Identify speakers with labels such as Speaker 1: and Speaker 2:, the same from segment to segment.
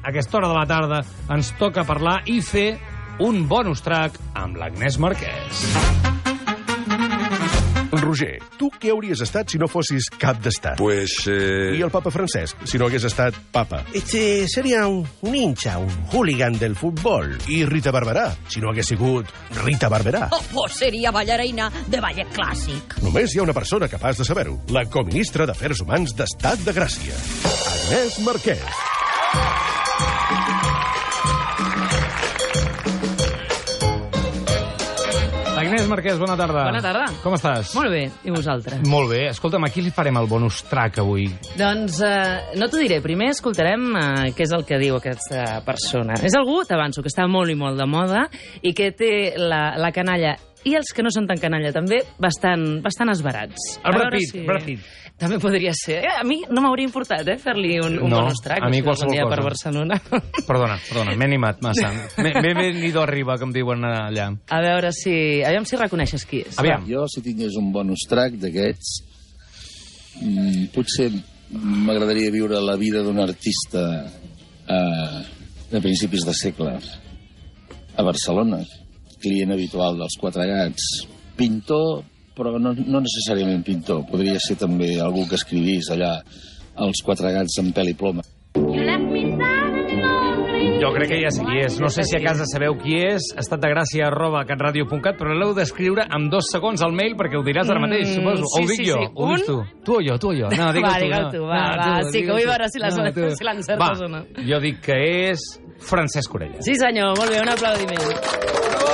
Speaker 1: A aquesta hora de la tarda ens toca parlar i fer un bonus track amb l'Agnès Marquès.
Speaker 2: Roger, tu què hauries estat si no fossis cap d'estat?
Speaker 3: Pues. Eh...
Speaker 2: I el papa Francesc, si no hagués estat papa?
Speaker 4: Este sería un, un hincha, un hooligan del fútbol.
Speaker 2: I Rita Barberà, si no hagués sigut Rita Barberà?
Speaker 5: Oh, pues seria ballarina de ballet clàssic.
Speaker 2: Només hi ha una persona capaç de saber-ho. La coministra d'Afers Humans d'Estat de Gràcia, Agnès Marquès.
Speaker 1: Agnès Marquès, bona tarda.
Speaker 6: Bona tarda.
Speaker 1: Com estàs?
Speaker 6: Molt bé, i vosaltres?
Speaker 1: Molt bé. Escolta'm, a qui li farem el bonus track avui?
Speaker 6: Doncs eh, no t'ho diré, primer escoltarem eh, què és el que diu aquesta persona. És algú, t'avanço, que està molt i molt de moda i que té la, la canalla i els que no són tan canalla també, bastant, bastant esbarats.
Speaker 1: El
Speaker 6: A
Speaker 1: Brad
Speaker 6: veure
Speaker 1: Pitt, Brad Pitt.
Speaker 6: També podria ser. Eh, A mi no m'hauria importat eh, fer-li un, un
Speaker 1: No,
Speaker 6: bonus track.
Speaker 1: a mi
Speaker 6: si algun
Speaker 1: qualsevol
Speaker 6: dia
Speaker 1: cosa.
Speaker 6: per Barcelona.
Speaker 1: Perdona, perdona, m'he animat massa. M'he m'he venido arriba, com diuen allà.
Speaker 6: A veure si... Aviam si reconeixes qui és.
Speaker 1: Aviam.
Speaker 7: Jo, si tingués un bonus track d'aquests, mm, potser m'agradaria viure la vida d'un artista eh, de principis de segle a Barcelona, client habitual dels Quatre Gats, pintor, però no, no necessàriament pintor, podria ser també algú que escrivís allà els Quatre Gats amb pèl i ploma.
Speaker 1: Jo crec que ja sé qui és. No sé si a casa sabeu qui és. Estat de gràcia arroba catradio.cat, però l'heu d'escriure amb dos segons al mail perquè ho diràs ara mateix,
Speaker 6: Mm,
Speaker 1: suposo. o
Speaker 6: sí,
Speaker 1: ho dic
Speaker 6: sí,
Speaker 1: jo,
Speaker 6: sí.
Speaker 1: ho dius
Speaker 6: Un?
Speaker 1: tu. Tu o jo, tu o jo. No, digue
Speaker 6: Va,
Speaker 1: tu.
Speaker 6: digue'l
Speaker 1: no.
Speaker 6: tu, va,
Speaker 1: No,
Speaker 6: va,
Speaker 1: tu,
Speaker 6: sí, que
Speaker 1: digue'l
Speaker 6: vull
Speaker 1: tu.
Speaker 6: veure si la-
Speaker 1: tu.
Speaker 6: si l'encertes
Speaker 1: Va,
Speaker 6: o no.
Speaker 1: Jo dic que és Francesc Orella.
Speaker 6: Sí, senyor, molt bé, un aplaudiment.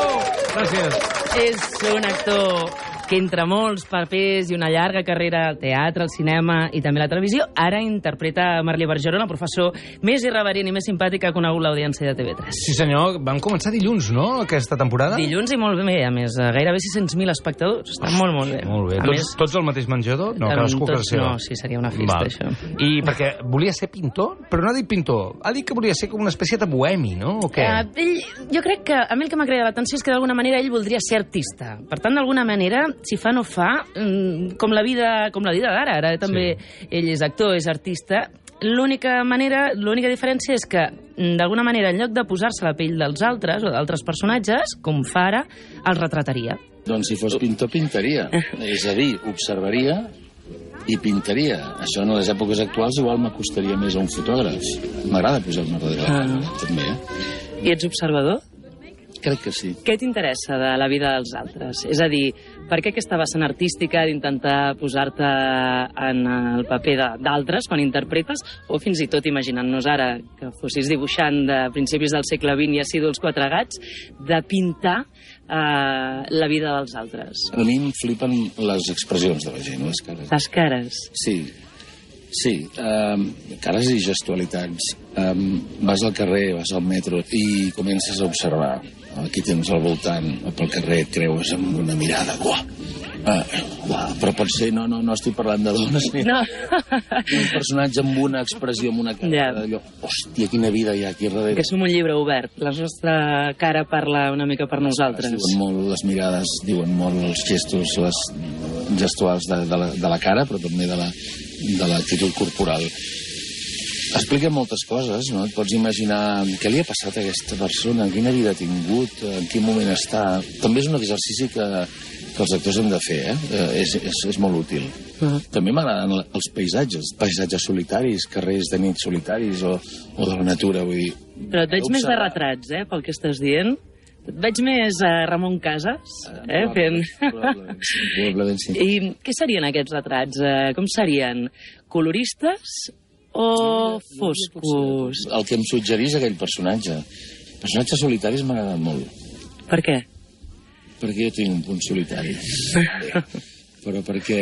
Speaker 1: Gràcies.
Speaker 6: És un actor que entre molts papers i una llarga carrera al teatre, al cinema i també a la televisió, ara interpreta Merlí Bergeron, el professor més irreverent i més simpàtic que ha conegut l'audiència de TV3.
Speaker 1: Sí, senyor. Vam començar dilluns, no?, aquesta temporada?
Speaker 6: Dilluns i molt bé, a més, eh, gairebé 600.000 espectadors. Està molt, molt bé.
Speaker 1: Molt bé. Doncs
Speaker 6: A
Speaker 1: Tots,
Speaker 6: més,
Speaker 1: tots al mateix menjador? No,
Speaker 6: Em,
Speaker 1: cadascú a
Speaker 6: tots
Speaker 1: casa seva.
Speaker 6: no, sí, seria una festa, això.
Speaker 1: I perquè volia ser pintor, però no ha dit pintor. Ha dit que volia ser com una espècie de bohemi, no? O què?
Speaker 6: Eh, ell, jo crec que a mi el que m'ha cridat l'atenció és que d'alguna manera ell voldria ser artista. Per tant, d'alguna manera, si fa no fa, mm, com la vida, com la vida d'ara, ara també ell és actor, és artista, l'única manera, l'única diferència és que mm, d'alguna manera, en lloc de posar-se a la pell dels altres o d'altres personatges, com fa ara, els retrataria.
Speaker 7: Doncs si fos pintor, pintaria. És a dir, observaria i pintaria. Això en les èpoques actuals igual m'acostaria més a un fotògraf. M'agrada posar-me darrere la càmera, també, eh?
Speaker 6: I ets observador?
Speaker 7: Crec que sí.
Speaker 6: Què t'interessa de la vida dels altres? És a dir, per què aquesta vessant artística d'intentar posar-te en el paper de- d'altres quan interpretes, o fins i tot imaginant-nos ara que fossis dibuixant de principis del segle XX i així dels quatre gats, de pintar eh, la vida dels altres?
Speaker 7: A mi em flipen les expressions de la gent, les cares.
Speaker 6: Les cares.
Speaker 7: Sí, sí. Um, cares i gestualitats. Um, vas al carrer, vas al metro i comences a observar. Aquí tens al voltant, o pel carrer et creues amb una mirada. Uah, uh, uah, però potser no, no, no estic parlant de dones ni
Speaker 6: No.
Speaker 7: un personatge amb una expressió, amb una cara
Speaker 6: Ja.
Speaker 7: d'allò, hòstia, quina vida hi ha aquí darrere.
Speaker 6: que som un llibre obert. La nostra cara parla una mica per nosaltres.
Speaker 7: Diuen molt les mirades, diuen molt els gestos, les gestuals de, de, la, de la cara, però també de la- de l'actitud la, corporal. Explica moltes coses, no? Et pots imaginar què li ha passat a aquesta persona, quina vida ha tingut, en quin moment està... També és un exercici que, que els actors hem de fer, eh? eh? És, és, és molt útil.
Speaker 6: Ah.
Speaker 7: També m'agraden la- els paisatges, paisatges solitaris, carrers de nit solitaris o, o de la natura, vull dir...
Speaker 6: Però et veig més de
Speaker 7: Observar.
Speaker 6: retrats, eh, pel que estàs dient. Et veig més a Ramon Casas, eh, fent...
Speaker 7: Probablement, sí, probablement sí.
Speaker 6: I què serien aquests retrats? Eh, com serien? Coloristes o foscos?
Speaker 7: el que em suggerís aquell personatge. Personatges solitaris m'agraden molt,
Speaker 6: Per què?
Speaker 7: perquè jo tinc un punt solitari. Però perquè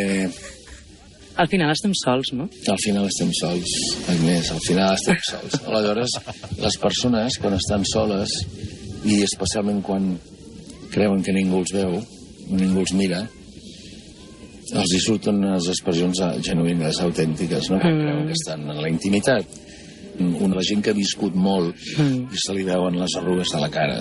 Speaker 6: Al final estem sols, no?
Speaker 7: al final estem sols, Agnès, al final estem sols. Aleshores, les persones, quan estan soles, i especialment quan creuen que ningú els veu, o ningú els mira, els hi surten unes expressions eh, genuïnes, autèntiques, no? Mm. Creuen que estan en la intimitat. una gent que ha viscut molt i se li veuen les arrugues de la cara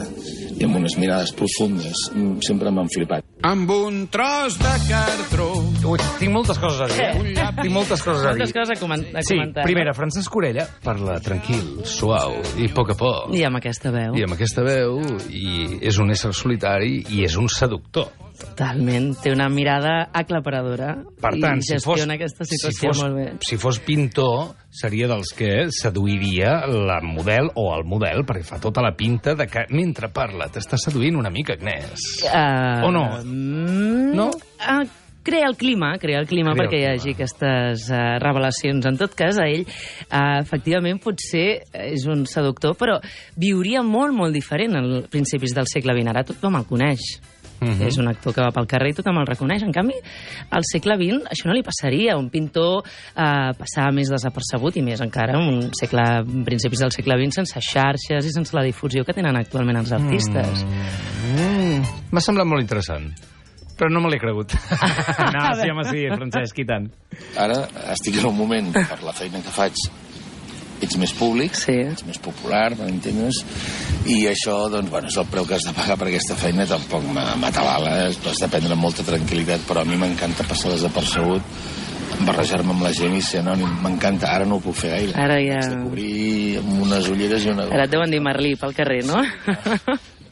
Speaker 7: i amb unes mirades profundes mm, sempre m'han flipat
Speaker 3: amb un tros de cartró.
Speaker 1: Ui, tinc moltes coses a dir. eh? Tinc moltes coses a dir.
Speaker 6: Moltes coses a, comen- a
Speaker 1: Sí,
Speaker 6: comentar.
Speaker 1: primera, Francesc Orella parla tranquil, suau i a poc a poc.
Speaker 6: I amb aquesta veu.
Speaker 1: I amb aquesta veu, i és un ésser solitari i és un seductor.
Speaker 6: Totalment. Té una mirada aclaparadora.
Speaker 1: Per tant,
Speaker 6: I
Speaker 1: si fos,
Speaker 6: gestiona aquesta situació
Speaker 1: si fos,
Speaker 6: molt bé.
Speaker 1: Si fos pintor, seria dels que seduiria la model o el model, perquè fa tota la pinta de que mentre parla t'està seduint una mica, Agnès.
Speaker 6: Uh,
Speaker 1: O no? No?
Speaker 6: No? Uh, crea el clima, crea el clima
Speaker 1: Crea el
Speaker 6: perquè hi
Speaker 1: clima.
Speaker 6: hagi aquestes uh, revelacions. En tot cas, a ell, uh, efectivament, potser eh, és un seductor, però viuria molt, molt diferent als principis del segle XX. Ara tothom el coneix.
Speaker 1: Mhm.
Speaker 6: És un actor que va pel carrer i tothom el reconeix. En canvi, al segle XX això no li passaria. Un pintor eh, passava més desapercebut i més encara en un segle, en principis del segle XX sense xarxes i sense la difusió que tenen actualment els artistes.
Speaker 1: Mm, M'ha semblat molt interessant, però no me l'he cregut. no, sí, home, sí, Francesc, i tant.
Speaker 7: ara estic en un moment per la feina que faig ets més públic,
Speaker 6: Sí.
Speaker 7: ets més popular, m'entens? I això, doncs, bueno, és el preu que has de pagar per aquesta feina, tampoc m'ha- m'atabala, eh? has de prendre amb molta tranquil·litat, però a mi m'encanta passar desapercebut, barrejar-me amb la gent i ser anònim, m'encanta, ara no ho puc fer gaire.
Speaker 6: Ara ja-
Speaker 7: Has de cobrir amb unes ulleres i una...
Speaker 6: Ara et deuen dir Merlí pel carrer, no?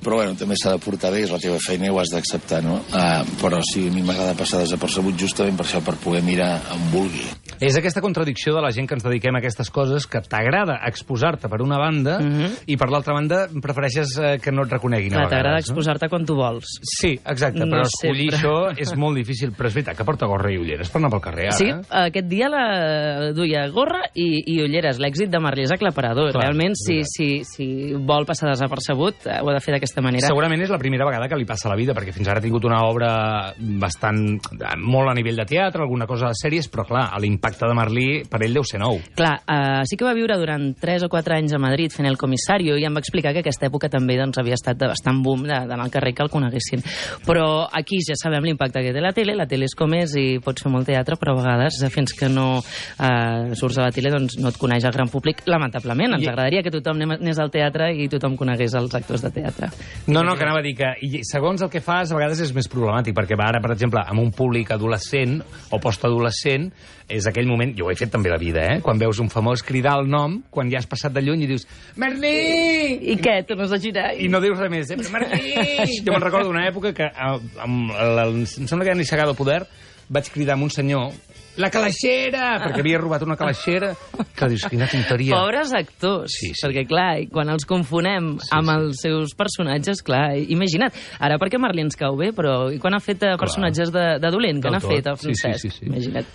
Speaker 7: Però bueno, també s'ha de portar bé, és la teva feina i ho has d'acceptar, no? Uh, però sí, a mi m'agrada passar desapercebut justament per això, per poder mirar on vulgui.
Speaker 1: És aquesta contradicció de la gent que ens dediquem a aquestes coses que t'agrada exposar-te per una banda
Speaker 6: Mhm.
Speaker 1: i per l'altra banda prefereixes eh, que no et reconeguin
Speaker 6: Clar,
Speaker 1: a
Speaker 6: T'agrada
Speaker 1: vegades. no?
Speaker 6: exposar-te quan tu vols.
Speaker 1: Sí, exacte,
Speaker 6: No
Speaker 1: però escollir
Speaker 6: sempre.
Speaker 1: això és molt difícil. Però és veritat que porta gorra i ulleres per anar pel carrer, ara. eh?
Speaker 6: Sí, aquest dia la duia gorra i, i ulleres. L'èxit de Merlí és aclaparador.
Speaker 1: Clar,
Speaker 6: Realment, si,
Speaker 1: veritat.
Speaker 6: si, si vol passar desapercebut, eh, ho ha de fer d'aquesta manera.
Speaker 1: Segurament és la primera vegada que li passa a la vida, perquè fins ara ha tingut una obra bastant... molt a nivell de teatre, alguna cosa de sèries, però clar, l'impacte de Merlí per ell deu ser nou.
Speaker 6: Clar, eh, sí que va viure durant 3 o 4 anys a Madrid fent el comissario i em va explicar que aquesta època també doncs, havia estat de bastant boom de- d'anar al carrer que el coneguessin. Però aquí ja sabem l'impacte que té la tele, la tele és com és i pots fer molt teatre, però a vegades eh, fins que no eh, surts a la tele doncs, no et coneix el gran públic, lamentablement. Ens
Speaker 1: I-
Speaker 6: agradaria que tothom anem- anés al teatre i tothom conegués els actors de teatre.
Speaker 1: No, no, que anava a dir que i segons el que fas a vegades és més problemàtic, perquè va ara, per exemple, amb un públic adolescent o postadolescent, és aquell moment, jo ho he fet també a la vida, eh? quan veus un famós cridar el nom, quan ja has passat de lluny i dius Merlí!
Speaker 6: I què? Tu no has de girar?
Speaker 1: i no dius res més. Eh? Però Martí! Jo me'n recordo d'una època que, a- amb la, em sembla que era Nissagado Poder, vaig cridar a un senyor la calaixera! Perquè havia robat una calaixera. Que dius, quina tonteria.
Speaker 6: Pobres actors,
Speaker 1: Sí, sí.
Speaker 6: perquè clar, i quan els confonem sí, amb els seus personatges, clar, i- imagina't, ara perquè Merlí ens cau bé, però i quan ha fet eh, personatges de, de dolent, que
Speaker 1: Del
Speaker 6: n'ha
Speaker 1: tot.
Speaker 6: fet el
Speaker 1: Sí, sí,
Speaker 6: Francesc,
Speaker 1: sí, sí.
Speaker 6: imagina't.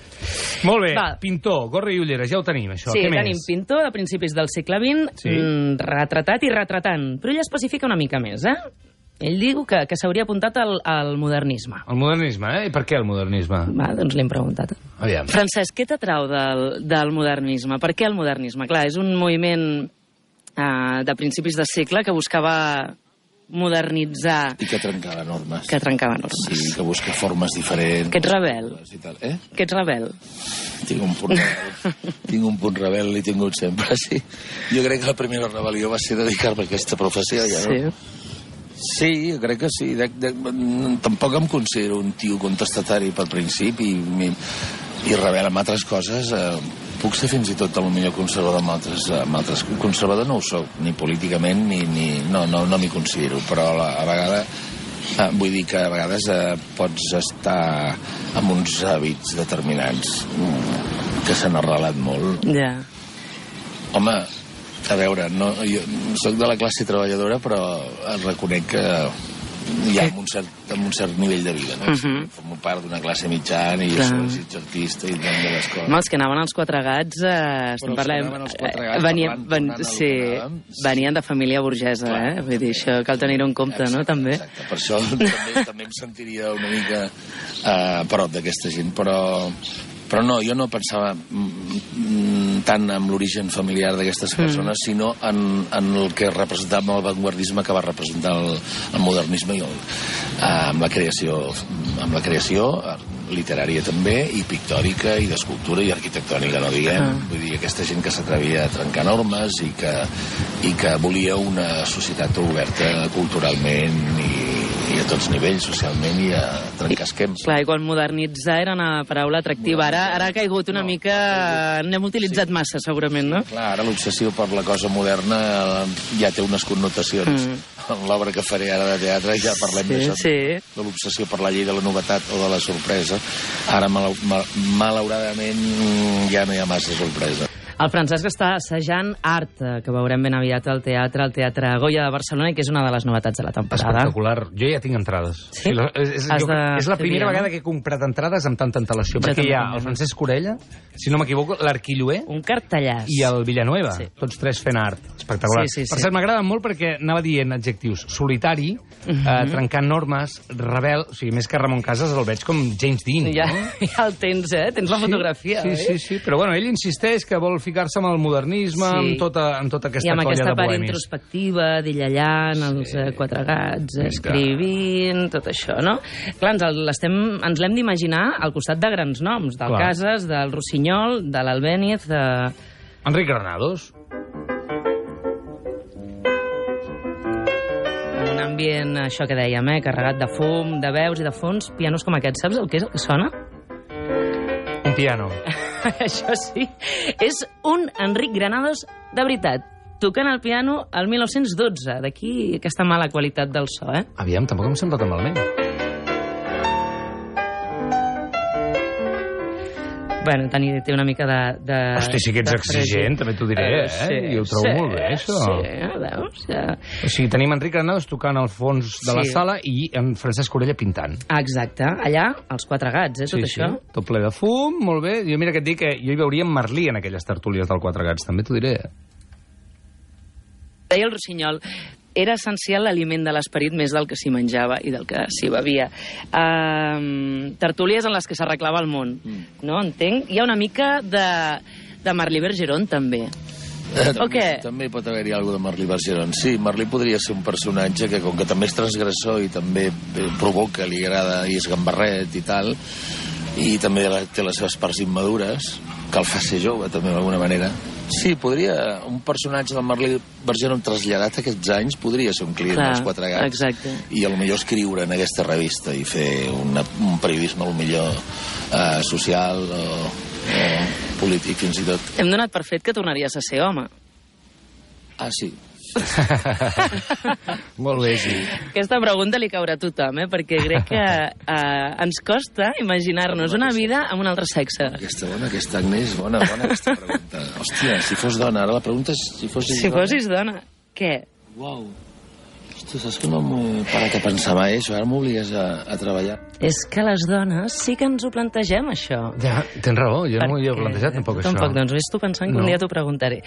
Speaker 1: Molt bé,
Speaker 6: Va.
Speaker 1: pintor, gorra i ulleres, ja ho tenim, això.
Speaker 6: sí,
Speaker 1: Què
Speaker 6: tenim
Speaker 1: més?
Speaker 6: pintor de principis del segle XX,
Speaker 1: Sí.
Speaker 6: mm, retratat i retratant, però ell especifica una mica més, eh? Ell diu que, que s'hauria apuntat al, al modernisme.
Speaker 1: El modernisme, eh? I per què el modernisme?
Speaker 6: Va, doncs l'hem preguntat.
Speaker 1: Aviam.
Speaker 6: Francesc, què t'atrau del, del modernisme? Per què el modernisme? Clar, és un moviment eh, de principis de segle que buscava modernitzar,
Speaker 7: I que trencava normes.
Speaker 6: que trencava normes.
Speaker 7: Sí, que busca formes diferents.
Speaker 6: Que ets rebel,
Speaker 7: I tal. Eh?
Speaker 6: que ets rebel.
Speaker 7: Tinc un punt rebel. tinc un punt rebel, l'he tingut sempre, sí. Jo crec que la primera rebel·lió va ser dedicar-me a aquesta professió. Ja,
Speaker 6: Sí.
Speaker 7: no? sí, jo crec que sí. De, de, mm, tampoc em considero un tio contestatari per principi i, i rebel amb altres coses. Eh, puc ser fins i tot el millor conservador amb altres, amb altres... Conservador no ho soc, ni políticament, ni... ni no, no, no m'hi considero, però a la, a vegada Ah, vull dir que a vegades eh, pots estar amb uns hàbits determinants mm, que s'han arrelat molt.
Speaker 6: Ja.
Speaker 7: Home, a veure, no, jo sóc de la classe treballadora, però et reconec que hi ha amb un cert, amb un cert nivell de vida. No?
Speaker 6: Mhm.
Speaker 7: Formo part d'una classe mitjana i jo
Speaker 6: Clar.
Speaker 7: soc desig artista i tant de les coses.
Speaker 6: Home, els que anaven als quatre gats, eh, estem
Speaker 7: Però els que
Speaker 6: parlem...
Speaker 7: anaven als Quatre Gats,
Speaker 6: venien,
Speaker 7: parlant,
Speaker 6: ven,
Speaker 7: tornant a lo
Speaker 6: sí,
Speaker 7: que anàvem, sí.
Speaker 6: venien de família burgesa,
Speaker 7: Clar.
Speaker 6: eh? Vull dir, això cal tenir-ho en compte, no?, també.
Speaker 7: Exacte, per això també, també em sentiria una mica eh, a prop d'aquesta gent, però, però no, jo no pensava mm, mm, tant en l'origen familiar d'aquestes
Speaker 6: Mm.
Speaker 7: persones, sinó en, en el que representava el vanguardisme que va representar el, el modernisme i el, eh, amb la creació, amb la creació eh, literària també, i pictòrica, i d'escultura, i arquitectònica, no diguem.
Speaker 6: Ah.
Speaker 7: Vull dir, aquesta gent que s'atrevia a trencar normes i que, i que volia una societat oberta culturalment i, i a tots nivells, socialment, i a trencar esquems.
Speaker 6: Clar, i quan modernitzar era una paraula atractiva. Ara, ara ha caigut una mica... N'hem utilitzat massa, segurament, no?
Speaker 7: Clar, ara l'obsessió per la cosa moderna eh, ja té unes connotacions.
Speaker 6: Mm.
Speaker 7: En l'obra que faré ara de teatre ja parlem
Speaker 6: Sí,
Speaker 7: d'això,
Speaker 6: sí.
Speaker 7: de l'obsessió per la llei de la novetat o de la sorpresa. Ara, mal, mal, malauradament, mm, ja no hi ha massa sorpresa.
Speaker 6: El Francesc està assajant art, eh, que veurem ben aviat al teatre, al Teatre Goya de Barcelona, i que és una de les novetats de la temporada.
Speaker 1: Espectacular. Jo ja tinc entrades.
Speaker 6: Sí?
Speaker 1: la, és, és,
Speaker 6: Has
Speaker 1: jo,
Speaker 6: de
Speaker 1: és la
Speaker 6: fer
Speaker 1: primera
Speaker 6: via, no?
Speaker 1: vegada que he comprat entrades amb tanta antelació,
Speaker 6: Jo
Speaker 1: perquè hi ha
Speaker 6: també.
Speaker 1: el Francesc Corella, si no m'equivoco, l'Arquilloer
Speaker 6: Un cartellàs.
Speaker 1: i el Villanueva,
Speaker 6: Sí.
Speaker 1: sí. tots tres fent art. Espectacular.
Speaker 6: Sí, sí, sí.
Speaker 1: Per cert, m'agrada molt perquè anava dient adjectius. Solitari, uh -huh.
Speaker 6: Mhm.
Speaker 1: eh, trencant normes, rebel... O sigui, més que Ramon Casas el veig com James Dean,
Speaker 6: Ja,
Speaker 1: no?
Speaker 6: ja el tens, eh? Tens la fotografia, eh?
Speaker 1: sí,
Speaker 6: oi?
Speaker 1: sí, sí, però bueno, ell insisteix que vol ficar-se amb el modernisme,
Speaker 6: Sí.
Speaker 1: sí. amb, tota, amb tota aquesta
Speaker 6: I amb
Speaker 1: colla
Speaker 6: aquesta
Speaker 1: de
Speaker 6: part
Speaker 1: bohemis.
Speaker 6: introspectiva, d'illallant, els eh, quatre gats,
Speaker 1: Vinga.
Speaker 6: escrivint, tot això, no? Clar, ens el- l'estem- ens l'hem d'imaginar al costat de grans noms, del
Speaker 1: Clar.
Speaker 6: Casas, del Rossinyol, de l'Albéniz, de...
Speaker 1: Enric Granados.
Speaker 6: amb un ambient, això que dèiem, eh, carregat de fum, de veus i de fons, pianos com aquest, saps el que és el que sona?
Speaker 1: Un piano.
Speaker 6: Això sí, és un Enric Granados de veritat, tocant el piano al 1912, d'aquí aquesta mala qualitat del so, eh?
Speaker 1: Aviam, tampoc em sembla tan malament.
Speaker 6: Bueno, tenir, té una mica de... de
Speaker 1: Hosti, sí que ets
Speaker 6: de fregit.
Speaker 1: exigent, també t'ho diré, eh? Jo ho trobo molt bé, això.
Speaker 6: Sí, veus? Ja.
Speaker 1: O sigui, tenim Enric Granados tocant al fons de la
Speaker 6: Sí.
Speaker 1: sala i en Francesc Orella pintant.
Speaker 6: Ah, exacte, allà, els quatre gats, eh, tot això.
Speaker 1: Sí, tot ple de fum, molt bé. Jo mira que et dic que jo hi veuria en Merlí en aquelles tertúlies del Quatre Gats, també t'ho diré.
Speaker 6: Deia el Rossinyol, era essencial l'aliment de l'esperit més del que s'hi menjava i del que s'hi bevia. Um, tertúlies en les que s'arreglava el món, no? Entenc. Hi ha una mica de, de Marlí Bergeron, també. O què?
Speaker 7: També pot haver-hi alguna de Merlí Bergeron. Sí, Merlí podria ser un personatge que, com que també és transgressor i també eh, provoca, li agrada, i és gambarret i tal, i també la- té les seves parts immadures, que el fa ser jove, també, d'alguna manera. Sí, podria... Un personatge del Merlí Bergeron traslladat aquests anys podria ser un client
Speaker 6: Clar,
Speaker 7: dels Quatre Gats.
Speaker 6: exacte.
Speaker 7: I a lo millor escriure en aquesta revista i fer una, un periodisme, a lo millor, eh, social o, o polític, fins i tot.
Speaker 6: Hem donat per fet que tornaries a ser home.
Speaker 7: Ah, sí.
Speaker 1: Molt bé, sí.
Speaker 6: Aquesta pregunta li caurà a tothom, eh? perquè crec que eh, ens costa imaginar-nos una vida amb un altre sexe.
Speaker 7: Aquesta bona, aquesta Agnès, bona, bona aquesta pregunta. Hòstia, si fos dona, ara la pregunta és si fos
Speaker 6: Si fossis dona, què?
Speaker 7: Uau. Hòstia, saps que no m'he parat a pensar mai això? Ara m'obligues a, a treballar.
Speaker 6: És que les dones sí que ens ho plantegem, això.
Speaker 1: Ja, tens raó, jo no m'ho havia
Speaker 6: Perquè-
Speaker 1: plantejat tampoc,
Speaker 6: tu
Speaker 1: això.
Speaker 6: Tampoc, doncs, vés tu pensant que
Speaker 1: No.
Speaker 6: un dia t'ho preguntaré.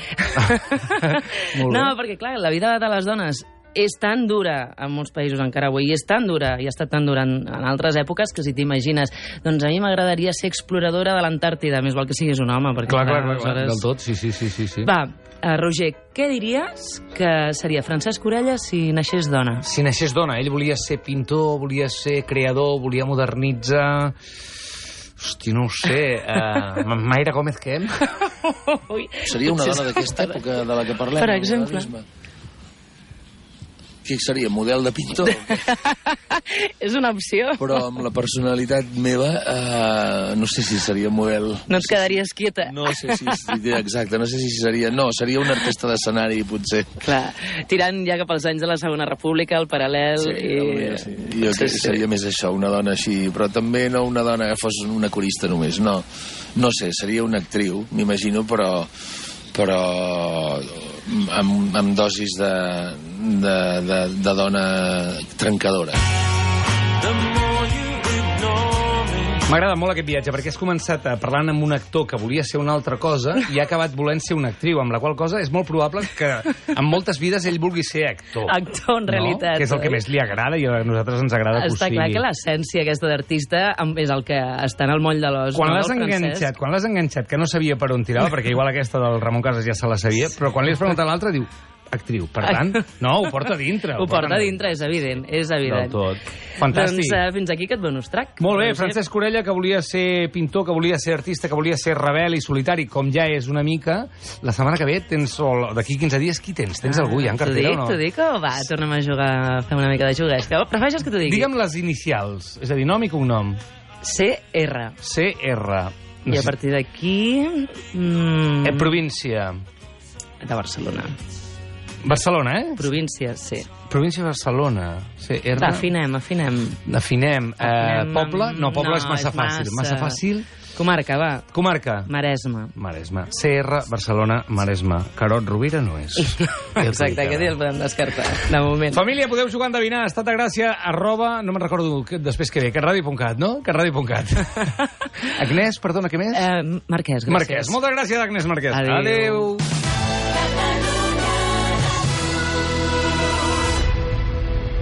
Speaker 1: Molt
Speaker 6: no,
Speaker 1: bé.
Speaker 6: perquè, clar, la vida de les dones és tan dura en molts països encara avui, i és tan dura, i ha estat tan dura en, en altres èpoques, que si t'imagines, doncs a mi m'agradaria ser exploradora de l'Antàrtida, més val que siguis un home, perquè...
Speaker 1: Clar, clar, clar, clar,
Speaker 6: aleshores-
Speaker 1: del tot, sí, sí, sí. sí, sí.
Speaker 6: Va, eh, Roger, què diries que seria Francesc Orella si naixés dona?
Speaker 1: Si naixés dona, ell volia ser pintor, volia ser creador, volia modernitzar... Hosti, no ho sé. Uh, Mayra Gómez Kem?
Speaker 6: Ui,
Speaker 7: Seria una
Speaker 6: potser
Speaker 7: dona
Speaker 6: és-
Speaker 7: d'aquesta època de la que parlem?
Speaker 6: Per
Speaker 7: del
Speaker 6: exemple.
Speaker 7: modernisme? Qui seria? Model de pintor?
Speaker 6: És una opció.
Speaker 7: Però amb la personalitat meva, eh, no sé si seria model...
Speaker 6: No et quedaries quieta.
Speaker 7: No sé si... si- Exacte, no sé si seria... No, seria un artista d'escenari, potser.
Speaker 6: Clar, tirant ja cap als anys de la Segona República, el paral·lel...
Speaker 7: Sí,
Speaker 6: i...
Speaker 7: hauria, sí. Jo crec que seria més això, una dona així, però també no una dona que fos una corista només, no. No sé, seria una actriu, m'imagino, però però amb, amb dosis de, de, de, de dona trencadora.
Speaker 1: M'agrada molt aquest viatge, perquè has començat eh, parlant amb un actor que volia ser una altra cosa i ha acabat volent ser una actriu, amb la qual cosa és molt probable que en moltes vides ell vulgui ser actor.
Speaker 6: Actor, en realitat,
Speaker 1: No? Que és el
Speaker 6: oi?
Speaker 1: que més li agrada i a nosaltres ens agrada que ho
Speaker 6: Està
Speaker 1: sigui.
Speaker 6: clar que l'essència aquesta d'artista em- és el que està en el moll de l'os.
Speaker 1: Quan
Speaker 6: no,
Speaker 1: l'has
Speaker 6: del francès.
Speaker 1: enganxat, quan l'has enganxat, que no sabia per on tirava, perquè igual aquesta del Ramon Casas ja se la sabia, però quan li has preguntat a l'altre, diu, actriu. Per tant, no, ho porta a dintre.
Speaker 6: Ho porta a
Speaker 1: molt.
Speaker 6: dintre, és evident, és evident.
Speaker 1: Del tot. Fantàstic.
Speaker 6: Doncs eh, fins aquí aquest bonus track.
Speaker 1: Molt bé,
Speaker 6: Doncs,
Speaker 1: Francesc Corella, que volia ser pintor, que volia ser artista, que volia ser rebel i solitari, com ja és una mica, la setmana que ve tens, o d'aquí 15 dies, qui tens? Tens algú ja en
Speaker 6: Ah, t'ho
Speaker 1: cartera
Speaker 6: dic,
Speaker 1: o no?
Speaker 6: T'ho dic o va, tornem a jugar, a fer una mica de jugues. Que prefereixes que t'ho digui?
Speaker 1: Digue'm les inicials, és a dir, nom i cognom.
Speaker 6: CR.
Speaker 1: CR.
Speaker 6: I a partir d'aquí... Mm,
Speaker 1: Eh, província.
Speaker 6: De Barcelona.
Speaker 1: Barcelona, eh?
Speaker 6: Província, sí.
Speaker 1: Província de Barcelona. CR.
Speaker 6: Va, afinem, afinem.
Speaker 1: Afinem. Eh,
Speaker 6: Afinem
Speaker 1: poble?
Speaker 6: amb-
Speaker 1: No, poble
Speaker 6: no,
Speaker 1: és massa
Speaker 6: és
Speaker 1: fàcil. Massa
Speaker 6: massa.
Speaker 1: fàcil.
Speaker 6: Comarca, va.
Speaker 1: Comarca?
Speaker 6: Maresme.
Speaker 1: Maresme. CR, Barcelona, Maresme. Carot Rovira no és. Ja t'ho dic
Speaker 6: Exacte,
Speaker 1: ara.
Speaker 6: aquest dia el podem descartar, de moment.
Speaker 1: Família, podeu jugar a endevinar. Estat de gràcia, arroba... No me'n recordo que, després que ve. Catradio.cat, no? Catradio.cat. Agnès, perdona, què més?
Speaker 6: Eh, Marquès, gràcies.
Speaker 1: Marquès. Moltes gràcies, Agnès Marquès.
Speaker 6: Adéu.
Speaker 1: Adéu.